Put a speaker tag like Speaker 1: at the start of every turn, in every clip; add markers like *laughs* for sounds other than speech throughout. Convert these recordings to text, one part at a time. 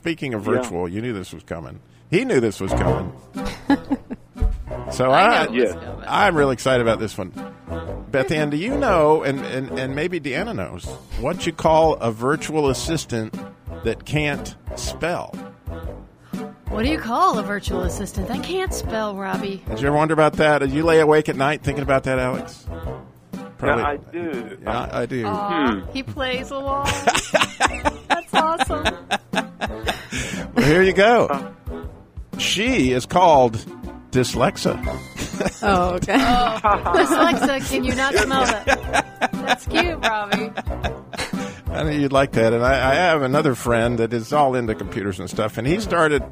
Speaker 1: Speaking of virtual, you knew this was coming. He knew this was coming. so I,
Speaker 2: know it was
Speaker 1: I,
Speaker 2: coming.
Speaker 1: am really excited about this one. Beth Ann, do you know, and, and, and maybe Deanna knows, what you call a virtual assistant that can't spell?
Speaker 2: What do you call a virtual assistant? I can't spell, Robbie.
Speaker 1: Did you ever wonder about that? Did you lay awake at night thinking about that, Alex?
Speaker 3: I do.
Speaker 1: Yeah, I do.
Speaker 2: He plays along. That's awesome.
Speaker 1: Well, here you go. She is called Dyslexa.
Speaker 4: Oh, okay. *laughs*
Speaker 2: Dyslexa, can you not smell that? That's cute, Robbie.
Speaker 1: I know you'd like that. And I, I have another friend that is all into computers and stuff, and he started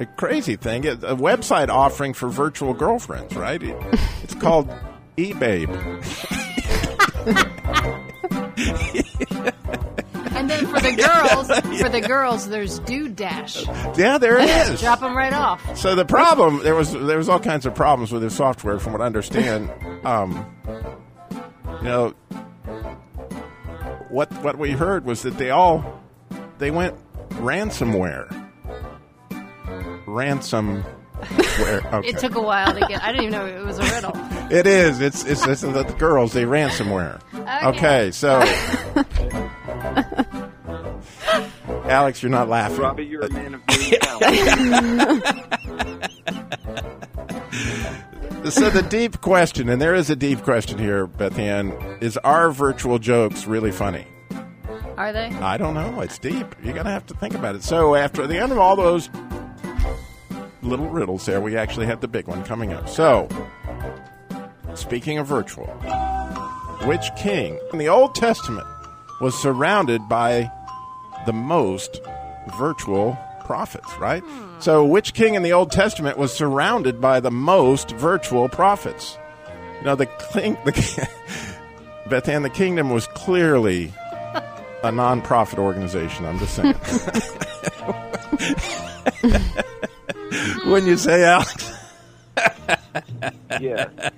Speaker 1: a crazy thing a a website offering for virtual girlfriends, right? It- it's called eBabe.
Speaker 2: And then for the girls, for the girls, there's do dash.
Speaker 1: Yeah, there it is.
Speaker 2: Drop them right off.
Speaker 1: So the problem there was there was all kinds of problems with his software, from what I understand. Um, you know, what what we heard was that they all they went ransomware, ransomware. Okay.
Speaker 2: It took a while to get. I didn't even know it was a riddle.
Speaker 1: It is. It's it's, it's the girls. They ransomware.
Speaker 2: Okay.
Speaker 1: okay so. Alex, you're not laughing. Uh,
Speaker 3: Robbie, you're a man of many talents.
Speaker 1: So the deep question, and there is a deep question here, Beth Ann, is are virtual jokes really funny?
Speaker 2: Are they?
Speaker 1: I don't know. It's deep. You're gonna have to think about it. So after the end of all those little riddles there, we actually have the big one coming up. So speaking of virtual, which king in the Old Testament was surrounded by the most virtual prophets, right? So which king in the Old Testament was surrounded by the most virtual prophets? You know, the king, the *laughs* Bethan, the kingdom was clearly a non-profit organization. I'm just saying. Wouldn't you say, Alex?
Speaker 3: yeah.